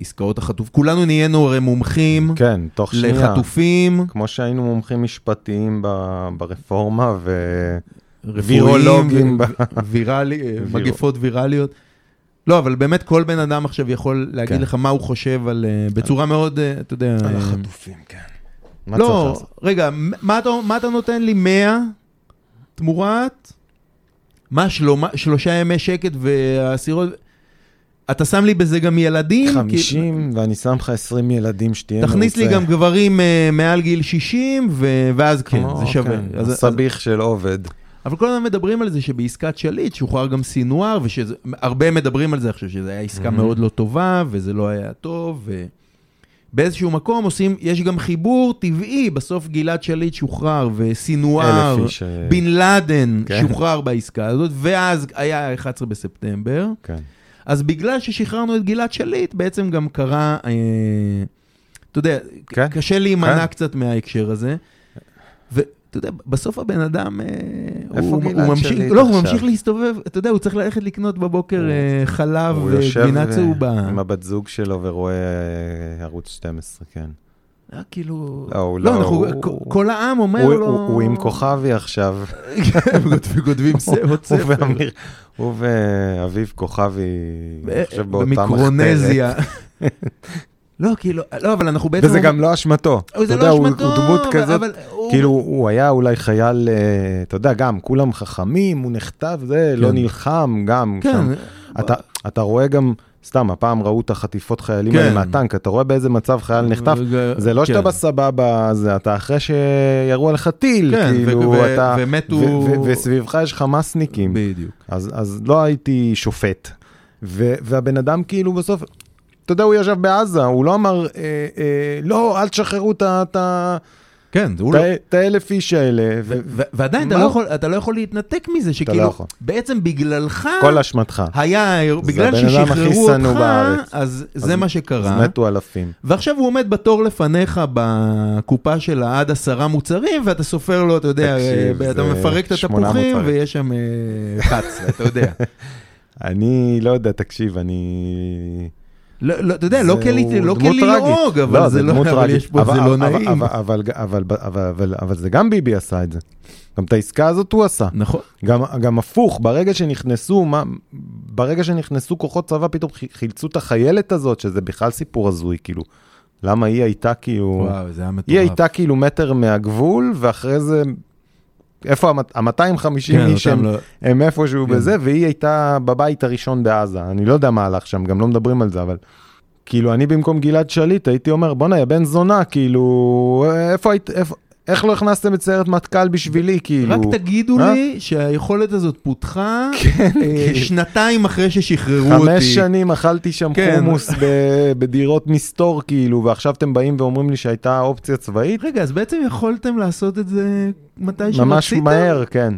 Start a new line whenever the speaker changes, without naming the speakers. עסקאות החטוף, כולנו נהיינו הרי מומחים
כן, תוך שנייה.
לחטופים,
כמו שהיינו מומחים משפטיים ב- ברפורמה, ו...
רפואיים,
וירולוגים
ו-
ב-
ויראלי, אה, מגפות ויראליות. לא, אבל באמת כל בן אדם עכשיו יכול להגיד
כן.
לך מה הוא חושב על... אה, בצורה מאוד, אה, אתה יודע...
על
אה,
החטופים, כן. מה צריך
לא,
לעשות?
רגע, מ- מה אתה, מה אתה נותן לי 100 תמורת? מה, שלומה, שלושה ימי שקט והאסירות? אתה שם לי בזה גם ילדים? כי-
50, ואני שם לך 20 ילדים שתהיה מרוצה.
תכניס לי גם גברים אה, מעל גיל 60, ו- ואז כן,
כמו,
זה שווה.
כן,
אז- אז-
הסביך של עובד.
אבל כל הזמן מדברים על זה שבעסקת שליט שוחרר גם סינואר, והרבה מדברים על זה עכשיו, שזו הייתה עסקה
Mhm.
מאוד לא טובה, וזה לא היה טוב, ובאיזשהו מקום עושים, יש גם חיבור טבעי, בסוף גלעד שליט שוחרר, וסינואר,
אלף איש, אה,
בן לאדן
כן.
שוחרר בעסקה הזאת, ואז היה 11 בספטמבר.
כן.
אז בגלל ששחררנו את גלעד שליט, בעצם גם קרה, אה, אתה יודע, כן?
כן,
קשה להימנע כן?
כן.
קצת מההקשר הזה. ואתה יודע, בסוף הבן אדם, אה,
איפה
הוא,
גלעד
הוא ממשיך,
שליט
לא, הוא
עכשיו?
ממשיך להסתובב, אתה יודע, הוא צריך ללכת לקנות בבוקר
הוא-
אה, חלב
הוא יושב
וגבינה
ו-
צהובה.
עם הבת זוג שלו ורואה אה, ערוץ 12, כן.
אה, כאילו...
לא, הוא
לא,
לא-
אנחנו,
הוא-
כל- לא- כל העם אומר
הוא-
לו...
הוא הוא עם כוכבי עכשיו,
הם כותבים- כותבים סרט
הוא
ספר.
ואמיר, הוא ואביב כוכבי, אני חושב באותה מחתרת.
במיקרונזיה. לא, כאילו, לא, אבל אנחנו בעצם...
וזה גם לא אשמתו.
אוי, זה
אתה יודע,
לא
הוא-
אשמתו,
הוא דמות
אבל-
כזאת,
אבל הוא-
כאילו הוא היה אולי חייל, אה, אתה יודע, גם כולם חכמים, הוא נחטף, זה, לא
כן.
נלחם, גם שם.
כן,
אתה, אתה רואה גם, סתם, הפעם ראו את החטיפות חיילים
כן.
האלה מהטנק, אתה רואה באיזה מצב חייל נחטף.
ו-
זה לא שאתה
כן.
בסבבה, זה אתה אחרי שירו עליך טיל,
כן, ו-
כאילו
ו-
אתה...
ומתו-
ו- ו- וסביבך יש חמאסניקים,
בדיוק.
אז, אז לא הייתי שופט. ו- והבן אדם כאילו בסוף, אתה יודע, הוא ישב בעזה, הוא לא אמר, אה, אה, לא, אל תשחררו את ה- את ה-
כן, זה הוא
את
לא...
ה- את האלף איש האלה. ו-
ו- ו- ועדיין אתה
מה?
לא יכול- אתה לא יכול להתנתק מזה,
לא
שכאילו,
יכול.
בעצם בגללך,
כל אשמתך.
היה,
זה
בגלל
הבן אדם הכי
ששחררו
שנוא
אותך,
בארץ.
אז
אז-
זה מה
אז
שקרה.
מתו אלפים.
ועכשיו הוא עומד בתור לפניך בקופה של עד עשרה מוצרים, ואתה סופר לו, אתה יודע,
תקשיב,
אה, אתה
זה
מפרק את
שמונה
התפוחים,
מוצרים.
ויש שם אה, 11, אתה יודע.
אני לא יודע, תקשיב, אני...
לא, לא, אתה יודע, לא
זה-
כלי
הוא
לא
דמות
כלי
טרגית.
להרוג, אבל זה לא,
דמות
אבל
טרגית.
יש פה, זה לא
אבל-
נעים.
אבל- אבל- אבל- אבל- אבל- אבל זה גם ביבי עשה את זה. גם את העסקה הזאת הוא עשה.
נכון.
גם, גם הפוך, ברגע שנכנסו, מה, ברגע שנכנסו כוחות צבא, פתאום חי- חילצו את החיילת הזאת, שזה בכלל סיפור הזוי, כאילו. למה היא הייתה כאילו...
וואו, זה היה מטורף.
היא הייתה כאילו מטר מהגבול, ואחרי זה... איפה ה-250
כן,
איש
אותם
הם,
לא-
הם איפשהו
כן.
בזה, והיא הייתה בבית הראשון בעזה. אני לא יודע מה הלך שם, גם לא מדברים על זה, אבל... כאילו, אני במקום גלעד שליט הייתי אומר, בואנה, יא בן זונה, כאילו, איפה היית... איפה... איך לא הכנסתם את סיירת מטכ"ל בשבילי, כאילו?
רק תגידו
אה? כן, אוקיי.
לי שהיכולת הזאת פותחה אה, שנתיים אחרי ששחררו אותי.
חמש שנים אכלתי שם
כן.
חומוס ב- בדירות מסתור כאילו, ועכשיו אתם באים ואומרים לי שהייתה אופציה צבאית?
אה, רגע, אז בעצם יכולתם לעשות את זה מתי שרציתם?
ממש מהר, כן.